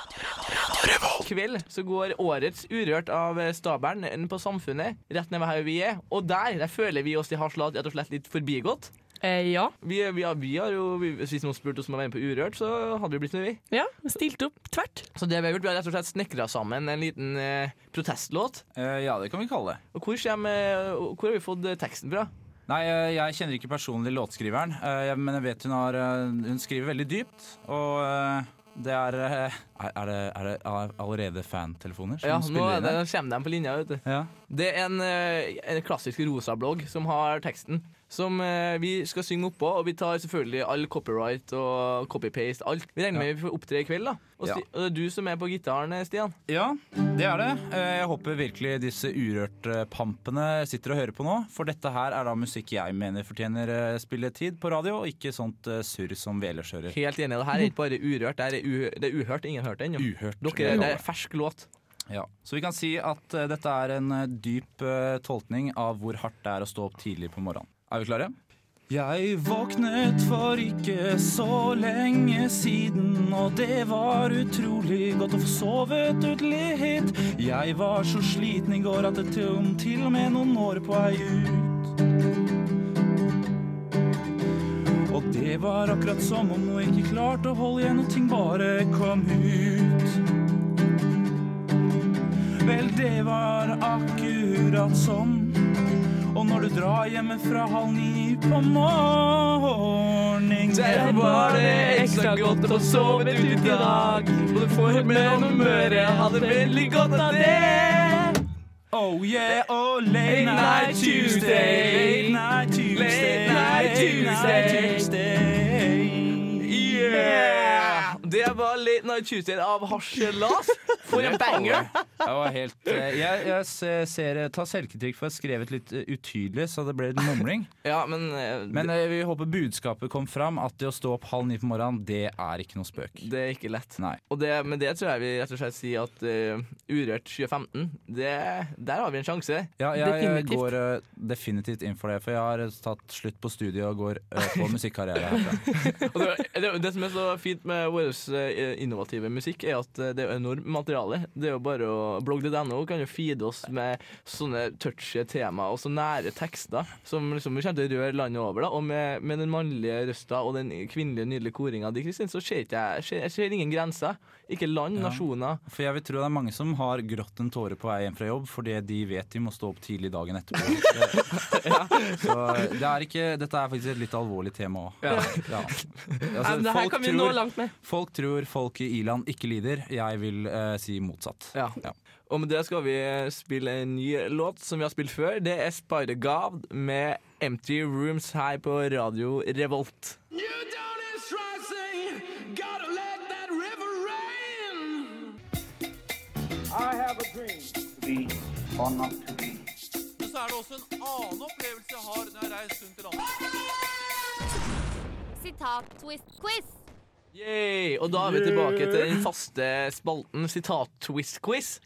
Speaker 1: I kveld så går årets Urørt av stabelen inn på Samfunnet, rett ned ved her vi er. Og der, der føler vi oss de har slått rett og slett litt forbigått.
Speaker 3: Eh, ja.
Speaker 1: Vi, vi, har- vi har jo, vi- Hvis noen spurte oss om å være med på Urørt, så hadde vi blitt med, vi.
Speaker 3: ja. Stilt opp tvert.
Speaker 1: Så det vi har gjort, vi har rett og slett snekra sammen en liten eh, protestlåt.
Speaker 2: Eh, ja, det kan vi kalle det.
Speaker 1: Og hvor, kommer, hvor har vi fått eh, teksten fra?
Speaker 2: Nei, eh, jeg kjenner ikke personlig låtskriveren, eh, jeg- men jeg vet hun har eh, Hun skriver veldig dypt, og eh, det er eh, Er er det, er det all- allerede fantelefoner som
Speaker 1: Ja, nå
Speaker 2: spiller
Speaker 1: er
Speaker 2: inn
Speaker 1: det,
Speaker 2: her?
Speaker 1: kommer de på linja. vet du.
Speaker 2: Ja.
Speaker 1: Det er en, eh, en klassisk rosa-blogg som har teksten. Som eh, vi skal synge oppå, og vi tar selvfølgelig all copyright og copy-paste. alt. Vi regner med vi får opptre i kveld, da. Og,
Speaker 2: Ja.
Speaker 1: sti, og det er du som er på gitaren, eh, Stian.
Speaker 2: ja, det er det. Eh, Jeg håper virkelig disse urørt-pampene sitter og hører på nå, for dette her er da musikk jeg mener fortjener eh, spilletid på radio, og ikke sånt eh, surr som vi ellers hører.
Speaker 1: Helt enig. Det her er ikke bare urørt, det, her er u, det er uhørt. Ingen hørte det ennå.
Speaker 2: Uhørt.
Speaker 1: Dere, det er fersk låt.
Speaker 2: Ja, Så vi kan si at eh, dette er en eh, dyp eh, tolkning av hvor hardt det er å stå opp tidlig på morgenen. Er vi klare? Jeg våknet for ikke så lenge siden, og det var utrolig godt å få sovet ut litt. Jeg var så sliten i går at det kom til og med noen år på vei ut. Og det var akkurat som om noe ikke klarte å holde igjen, og ting bare kom ut. Vel, det var akkurat sånn. Og når du drar hjemmefra halv ni på morgenen
Speaker 1: Der var det ekstra godt å få sovet ut i dag. Både formen og humøret hadde veldig godt av det.
Speaker 2: Oh yeah, oh late night
Speaker 1: night
Speaker 2: Tuesday.
Speaker 1: Tuesday.
Speaker 2: Late night Tuesday.
Speaker 1: Late night Tuesday.
Speaker 2: Tuesday.
Speaker 1: Yeah! Det var Late Night Tuesday av Harselas. For en banger!
Speaker 2: Jeg var helt eh, Jeg, jeg se- ser, eh, tar selvkritikk for å ha skrevet litt eh, utydelig, så det ble litt mumling.
Speaker 1: Ja, men, eh,
Speaker 2: Men eh, vi håper budskapet kom fram, at det å stå opp halv ni på morgenen, det er ikke noe spøk.
Speaker 1: det er ikke lett.
Speaker 2: Nei.
Speaker 1: Og det, med det tror jeg vi rett og slett sier at eh, Urørt 2015, det, der har vi en sjanse.
Speaker 2: Ja, jeg, jeg
Speaker 3: Definitivt.
Speaker 2: går eh, definitivt inn for det, for jeg har eh, tatt slutt på studiet og går eh, på musikkarriere herfra.
Speaker 1: Og det, det, det som er så fint med vår eh, innovative musikk, er at eh, det er jo enormt materiale. Det er jo bare å blogg.no kan jo feede oss med sånne touchy temaer og så nære tekster som liksom vi kommer til å røre landet over. da Og med, med den mannlige røsta og den kvinnelige nydelige koringa di, Kristin, så ser ikke jeg ser, jeg ser ingen grenser. Ikke land, nasjoner.
Speaker 2: For jeg vil tro det er mange som har grått en tåre på vei hjem fra jobb fordi de vet de må stå opp tidlig dagen etterpå. Så eh, det er ikke, dette er faktisk et litt alvorlig tema òg. Ja.
Speaker 3: Nei,
Speaker 2: Altså,
Speaker 3: men det her
Speaker 2: folk,
Speaker 3: kan vi nå
Speaker 2: tror-
Speaker 3: langt med.
Speaker 2: folk tror folk i i-land ikke lider. Jeg vil eh, si motsatt.
Speaker 1: Ja.
Speaker 2: Ja.
Speaker 1: Og med det skal vi eh, spille en ny låt som vi har spilt før. Det er Spider God med Empty Rooms her på Radio Revolt.
Speaker 4: Sitat-twist-quiz.
Speaker 1: Yay! Og da er vi tilbake til den faste spalten sitat-twist-quiz.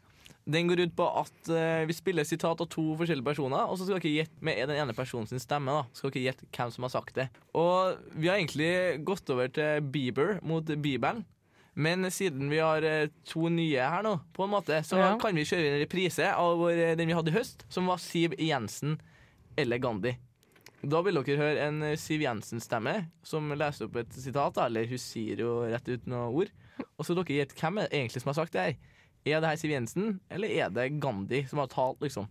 Speaker 1: Den går ut på at eh, vi spiller sitat av to forskjellige personer, og så skal dere gjette med den ene personen sin stemme. da Skal dere gjette hvem som har sagt det Og vi har egentlig gått over til Bieber mot Bibelen. Men siden vi har eh, to nye her nå, på en måte så
Speaker 3: Ja.
Speaker 1: kan vi kjøre en reprise av vår, eh, den vi hadde i høst, som var Siv Jensen eller Gandhi. Da vil dere høre en eh, Siv Jensen-stemme som leser opp et sitat. da, Eller hun sier jo rett ut noen ord. Og så dere gjette hvem er det egentlig som har sagt det her. Er det her Siv Jensen, eller er det Gandhi som har talt, liksom?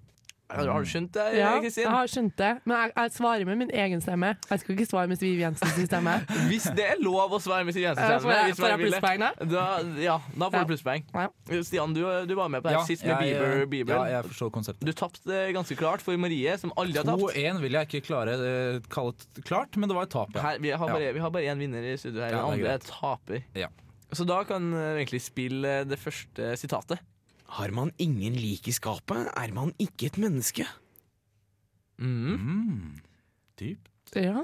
Speaker 1: Har, har du skjønt det,
Speaker 3: Ja, jeg
Speaker 1: Kristin?
Speaker 3: har skjønt det. Men jeg, jeg svarer med min egen stemme. Jeg skal ikke svare med Siv Jensens stemme.
Speaker 1: Hvis det er lov å svare med Siv
Speaker 3: Eh, Får
Speaker 1: Jensen-stemme
Speaker 3: jeg,
Speaker 1: hvis
Speaker 3: får
Speaker 1: man
Speaker 3: jeg
Speaker 1: vil det.
Speaker 3: plusspoeng da?
Speaker 1: Da, ja, da får
Speaker 3: Ja.
Speaker 1: du plusspoeng.
Speaker 3: Ja.
Speaker 1: Stian, du, du var med på det her sist med
Speaker 2: jeg,
Speaker 1: Bieber.
Speaker 2: eh,
Speaker 1: Bieber.
Speaker 2: Ja, jeg forstår konseptet.
Speaker 1: Du tapte ganske klart for Marie, som aldri har tapt.
Speaker 2: 2-1 vil jeg ikke klare eh, kalle det klart, men det var et tap. Ja.
Speaker 1: Her, vi, har bare, vi har bare én vinner i studio her.
Speaker 2: Ja,
Speaker 1: Den
Speaker 2: det er
Speaker 1: andre er taper.
Speaker 2: Ja.
Speaker 1: Så da kan eh, vi egentlig spille eh, det første sitatet.
Speaker 6: Har man ingen lik i skapet, er man ikke et menneske.
Speaker 1: Mm.
Speaker 2: Mm. Dypt.
Speaker 3: Ja.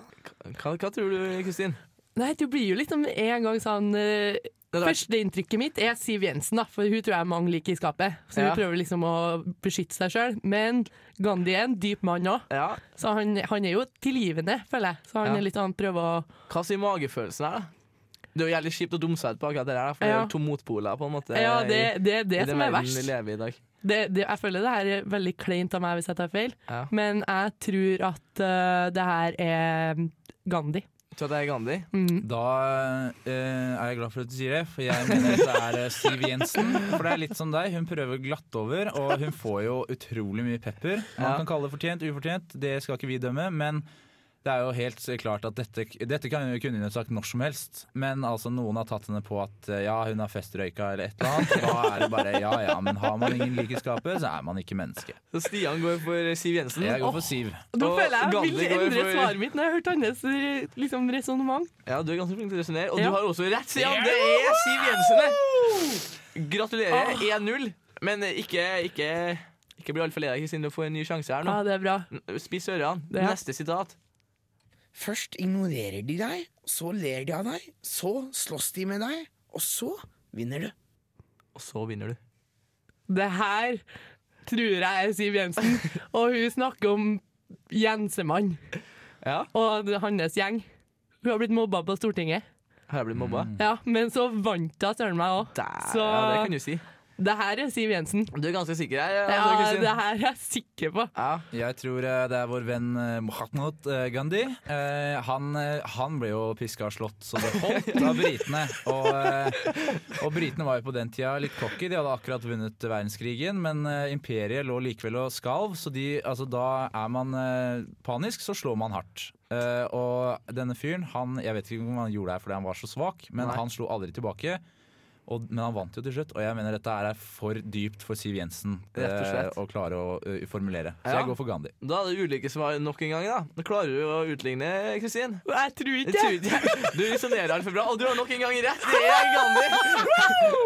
Speaker 1: Hva, hva tror du, Kristin?
Speaker 3: Nei, du blir jo litt om en gang sånn eh,
Speaker 1: Det der-
Speaker 3: Førsteinntrykket mitt er Siv Jensen, da, for hun tror jeg mange liker i skapet. Så
Speaker 1: Ja.
Speaker 3: hun prøver liksom å beskytte seg sjøl. Men Gandhi er en dyp mann òg,
Speaker 1: Ja,
Speaker 3: så han, han er jo tilgivende, føler jeg. Så han
Speaker 1: Ja.
Speaker 3: er litt sånn prøver å
Speaker 1: Hva sier magefølelsen her, da? Det er jo jævlig kjipt å dumme seg ut på akkurat det der, for det er
Speaker 3: Ja.
Speaker 1: jo to motpoler på en måte
Speaker 3: Ja, det
Speaker 1: i-
Speaker 3: det er det,
Speaker 1: i den
Speaker 3: som er
Speaker 1: verden vi
Speaker 3: verst.
Speaker 1: lever i i dag.
Speaker 3: Det, det, jeg føler det her er veldig kleint av meg hvis jeg tar feil,
Speaker 1: Ja.
Speaker 3: men jeg tror at eh, det her er Gandhi.
Speaker 1: Tror at det er Gandhi?
Speaker 2: Da eh, er jeg glad for at du sier det, for jeg mener at det er eh, Siv Jensen. For det er litt som deg, hun prøver å glatte over, og hun får jo utrolig mye pepper. Man
Speaker 1: Ja.
Speaker 2: kan kalle det fortjent, ufortjent, det skal ikke vi dømme, men det er jo helt klart at dette, dette kan, kunne hun sagt når som helst, men altså noen har tatt henne på at eh, ja, hun har festrøyka eller et eller annet. Da er det bare ja ja, men har man ingen lik i skapet, så er man ikke menneske.
Speaker 1: Så Stian går for Siv Jensen.
Speaker 2: Jeg går
Speaker 1: Åh,
Speaker 2: for Siv.
Speaker 3: Nå
Speaker 1: Og
Speaker 3: føler jeg jeg
Speaker 1: Gandhi
Speaker 3: vil
Speaker 1: går
Speaker 3: endre
Speaker 1: for-
Speaker 3: svaret mitt når jeg har hørt hans eh, liksom, resonnement.
Speaker 1: Ja, Du er ganske flink til å resonnere, og
Speaker 3: Ja.
Speaker 1: du har også rett, Stian! Det er Siv Jensen, det! Gratulerer.
Speaker 3: Ah.
Speaker 1: 1-0. Men ikke, ikke, ikke bli altfor lei deg, Kristin. Du får en ny sjanse her
Speaker 3: Ja,
Speaker 1: nå.
Speaker 3: det er bra.
Speaker 1: Spiss ørene.
Speaker 3: Det er-
Speaker 1: Neste sitat.
Speaker 6: Først ignorerer de deg, så ler de av deg, så slåss de med deg, og så vinner du.
Speaker 1: Og så vinner du.
Speaker 3: Det her tror jeg er Siv Jensen, og hun snakker om Jensemann
Speaker 1: Ja,
Speaker 3: og hans gjeng. Hun har blitt mobba på Stortinget,
Speaker 1: har jeg blitt mobba?
Speaker 3: ja, men så vant hun søren meg òg.
Speaker 1: Der,
Speaker 3: Så
Speaker 1: ja, det kan du si.
Speaker 3: det her er Siv Jensen.
Speaker 1: Du er ganske sikker her,
Speaker 3: Ja,
Speaker 1: altså, Kristin.
Speaker 3: det her er jeg sikker på.
Speaker 1: Ja.
Speaker 2: Jeg tror eh, det er vår venn eh, Mahatma eh, Gandhi. Eh, Han, eh, han ble jo piska og slått så det holdt av britene. Og, eh, og britene var jo på den tida litt cocky. De hadde akkurat vunnet verdenskrigen, men eh, imperiet lå likevel og skalv, så de, altså, da er man eh, panisk, så slår man hardt. Eh, Og denne fyren, han, jeg vet ikke om han gjorde det her fordi han var så svak, men
Speaker 1: Nei.
Speaker 2: han slo aldri tilbake. Og, men han vant jo til slutt, og jeg mener dette her er for dypt for Siv Jensen
Speaker 1: Rett og slett.
Speaker 2: eh, å klare å eh, formulere. Så
Speaker 1: Ja.
Speaker 2: jeg går for Gandhi.
Speaker 1: Da er det ulike svar nok en gang. da Nå Klarer du å utligne, Kristin?
Speaker 3: Jeg tror
Speaker 1: Jeg
Speaker 3: ikke
Speaker 1: tror ikke jeg. Du resonnerer altfor bra, og du har nok en gang rett. Det er Gandhi.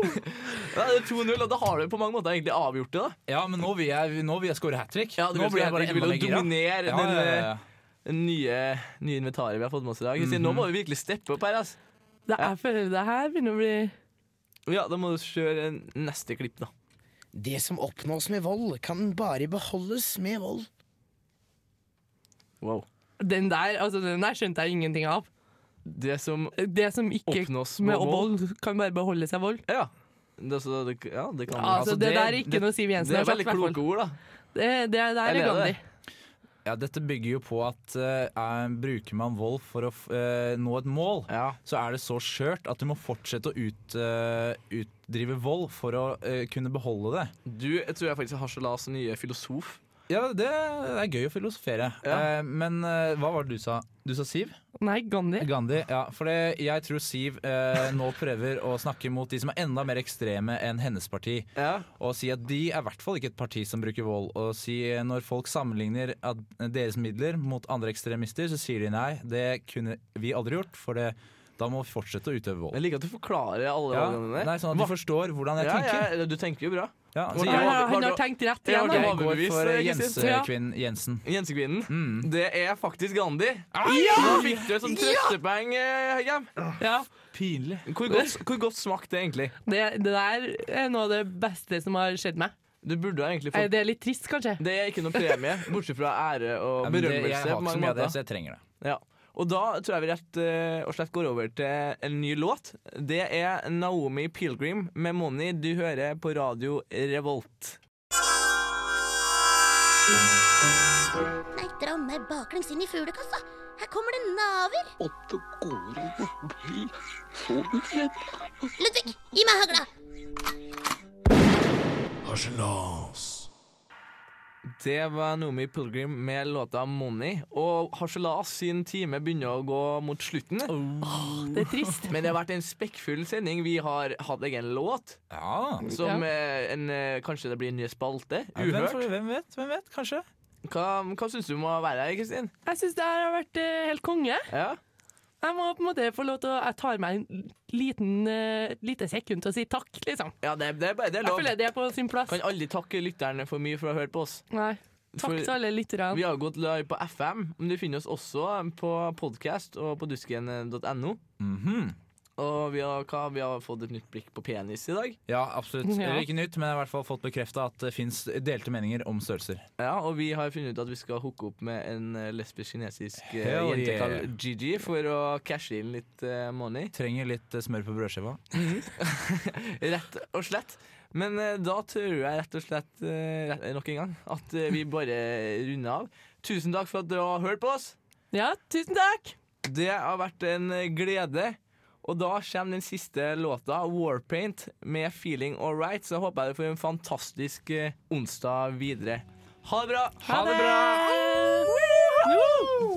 Speaker 1: Da er det 2-0, og da har du på mange måter egentlig avgjort det. da
Speaker 2: Ja, men nå vil jeg, nå vil jeg score hat trick.
Speaker 1: Ja, du vil
Speaker 2: nå blir
Speaker 1: score
Speaker 2: jeg bare
Speaker 1: hat-trick, du vil jo
Speaker 2: enda mer gira.
Speaker 1: dominere den, eh, Det nye, nye inventaret vi har fått med oss i dag. Kristin, Nå må vi virkelig steppe opp her. altså. ass
Speaker 3: det, Jeg føler det her begynner å bli
Speaker 1: Ja, Da må du kjøre en neste klipp, da.
Speaker 6: Det som oppnås med vold, kan bare beholdes med vold.
Speaker 1: Wow.
Speaker 3: Den der altså den der skjønte jeg ingenting av.
Speaker 1: Det som
Speaker 3: Det som ikke
Speaker 1: oppnås
Speaker 3: med
Speaker 1: med
Speaker 3: å
Speaker 1: vold
Speaker 3: vold kan bare beholde seg vold.
Speaker 1: Ja, det, så, det, ja, det kan
Speaker 3: Altså,
Speaker 2: Altså,
Speaker 3: det,
Speaker 2: det-
Speaker 3: der er ikke
Speaker 2: det-
Speaker 3: noe Siv Jensen
Speaker 1: Det
Speaker 3: har
Speaker 1: er
Speaker 3: sagt.
Speaker 1: veldig
Speaker 3: hvertfall.
Speaker 1: kloke ord, da.
Speaker 3: Det, det der er
Speaker 1: Eller er
Speaker 3: Gandhi.
Speaker 1: det?
Speaker 2: Ja, dette bygger jo på at eh, er, bruker man vold for å f- eh, nå et mål,
Speaker 1: Ja.
Speaker 2: så er det så skjørt at du må fortsette å ut, eh, utdrive vold for å eh, kunne beholde det.
Speaker 1: Du jeg tror jeg faktisk har Harselas nye filosof.
Speaker 2: Ja, det er gøy å filosofere.
Speaker 1: Ja.
Speaker 2: Eh, men eh, hva var det du sa? Du sa Siv?
Speaker 3: Nei, Gandhi.
Speaker 2: Gandhi, ja. For det, jeg tror Siv eh, nå prøver å snakke mot de som er enda mer ekstreme enn hennes parti.
Speaker 1: Ja.
Speaker 2: Og si at de er i hvert fall ikke et parti som bruker vold. Og si eh, når folk sammenligner at deres midler mot andre ekstremister, så sier de nei, det kunne vi aldri gjort, for det, da må vi fortsette å utøve vold.
Speaker 1: Jeg liker at du forklarer alle
Speaker 2: Ja,
Speaker 1: valgene dine.
Speaker 2: nei, sånn at de forstår hvordan jeg
Speaker 1: ja,
Speaker 2: tenker.
Speaker 1: ja, du tenker jo bra.
Speaker 2: Ja,
Speaker 1: Hvordan-
Speaker 2: så
Speaker 3: Ja,
Speaker 2: jeg,
Speaker 3: ja,
Speaker 1: var
Speaker 3: han
Speaker 1: det-
Speaker 3: har tenkt rett
Speaker 1: Ja,
Speaker 3: igjen.
Speaker 1: ok.
Speaker 3: da.
Speaker 2: jeg går for eh,
Speaker 1: Overbevist,
Speaker 3: eh, Kristin.
Speaker 2: Jensekvinn Jensen.
Speaker 1: Jensekvinnen.
Speaker 2: Mm.
Speaker 1: Det er faktisk Gandhi. Ja! Nå fikk du et sånt trøstepoeng, eh, Hjem.
Speaker 3: Ja,
Speaker 2: Pinlig.
Speaker 1: Hvor godt, hvor godt smakte det egentlig?
Speaker 3: det, det der er noe av det beste som har skjedd meg.
Speaker 1: Du burde ha egentlig
Speaker 3: Eh,
Speaker 1: fått
Speaker 3: Det er litt trist, kanskje.
Speaker 1: Det er ikke noe premie, bortsett fra ære og
Speaker 2: Ja, men det, jeg
Speaker 1: berømmelse.
Speaker 2: har
Speaker 1: på
Speaker 2: ikke så
Speaker 1: mange
Speaker 2: mye av det,
Speaker 1: måter.
Speaker 2: så jeg trenger det.
Speaker 1: Ja. Og da tror jeg vi rett eh, og slett går over til en ny låt. Det er Naomi Pilgrim med 'Money'. Du hører på radio Revolt.
Speaker 4: Nei, dra meg baklengs inn i fuglekassa. Her kommer det naver. Ludvig, gi meg hagla.
Speaker 1: Det var Naomi Pilgrim med låta 'Money'. Og Harselas sin time begynner å gå mot slutten.
Speaker 3: Oh. Det er trist.
Speaker 1: Men det har vært en spekkfull sending. Vi har hatt egen låt.
Speaker 2: Ja.
Speaker 1: Som
Speaker 3: Ja.
Speaker 1: eh, en, eh, Kanskje det blir en ny spalte.
Speaker 2: Ja, Hvem,
Speaker 1: Uhørt.
Speaker 2: hvem vet? Hvem vet? Kanskje.
Speaker 1: Hva, hva syns du må være her, Kristin?
Speaker 3: Jeg syns det her har vært eh, helt konge.
Speaker 1: Ja?
Speaker 3: Jeg må på en måte få lov til å Jeg tar meg en liten eh, lite sekund til å si takk, liksom.
Speaker 1: ja, det, det, er bare- det er
Speaker 3: Jeg
Speaker 1: lov.
Speaker 3: føler det er på sin plass.
Speaker 1: Kan aldri takke lytterne for mye for å ha hørt på oss.
Speaker 3: Nei. Takk til alle lytterne.
Speaker 1: Vi har gått live på FM, men du finner oss også på podcast og på dusken.no.
Speaker 2: Mhm.
Speaker 1: Og vi har, hva, vi har fått et nytt blikk på penis i dag.
Speaker 2: Ja, absolutt.
Speaker 3: Ja.
Speaker 2: Eller ikke nytt, men jeg har i hvert fall fått bekrefta at det fins delte meninger om størrelser.
Speaker 1: Ja, Og vi har funnet ut at vi skal hooke opp med en eh, lesbisk kinesisk eh,
Speaker 2: Hell
Speaker 1: jente
Speaker 2: yeah.
Speaker 1: kalt Gigi for å cashe inn litt eh, money.
Speaker 2: Trenger litt eh, smør på brødskiva.
Speaker 1: Rett og slett. Men eh, da tror jeg rett og slett eh, rett, nok en gang at eh, vi bare runder av. Tusen takk for at du har hørt på oss.
Speaker 3: Ja, tusen takk!
Speaker 1: Det har vært en glede. Og da kommer den siste låta, 'Warpaint', med 'Feeling Alright'. Så håper jeg du får en fantastisk eh, onsdag videre. Ha det bra!
Speaker 3: Ha det! Woo!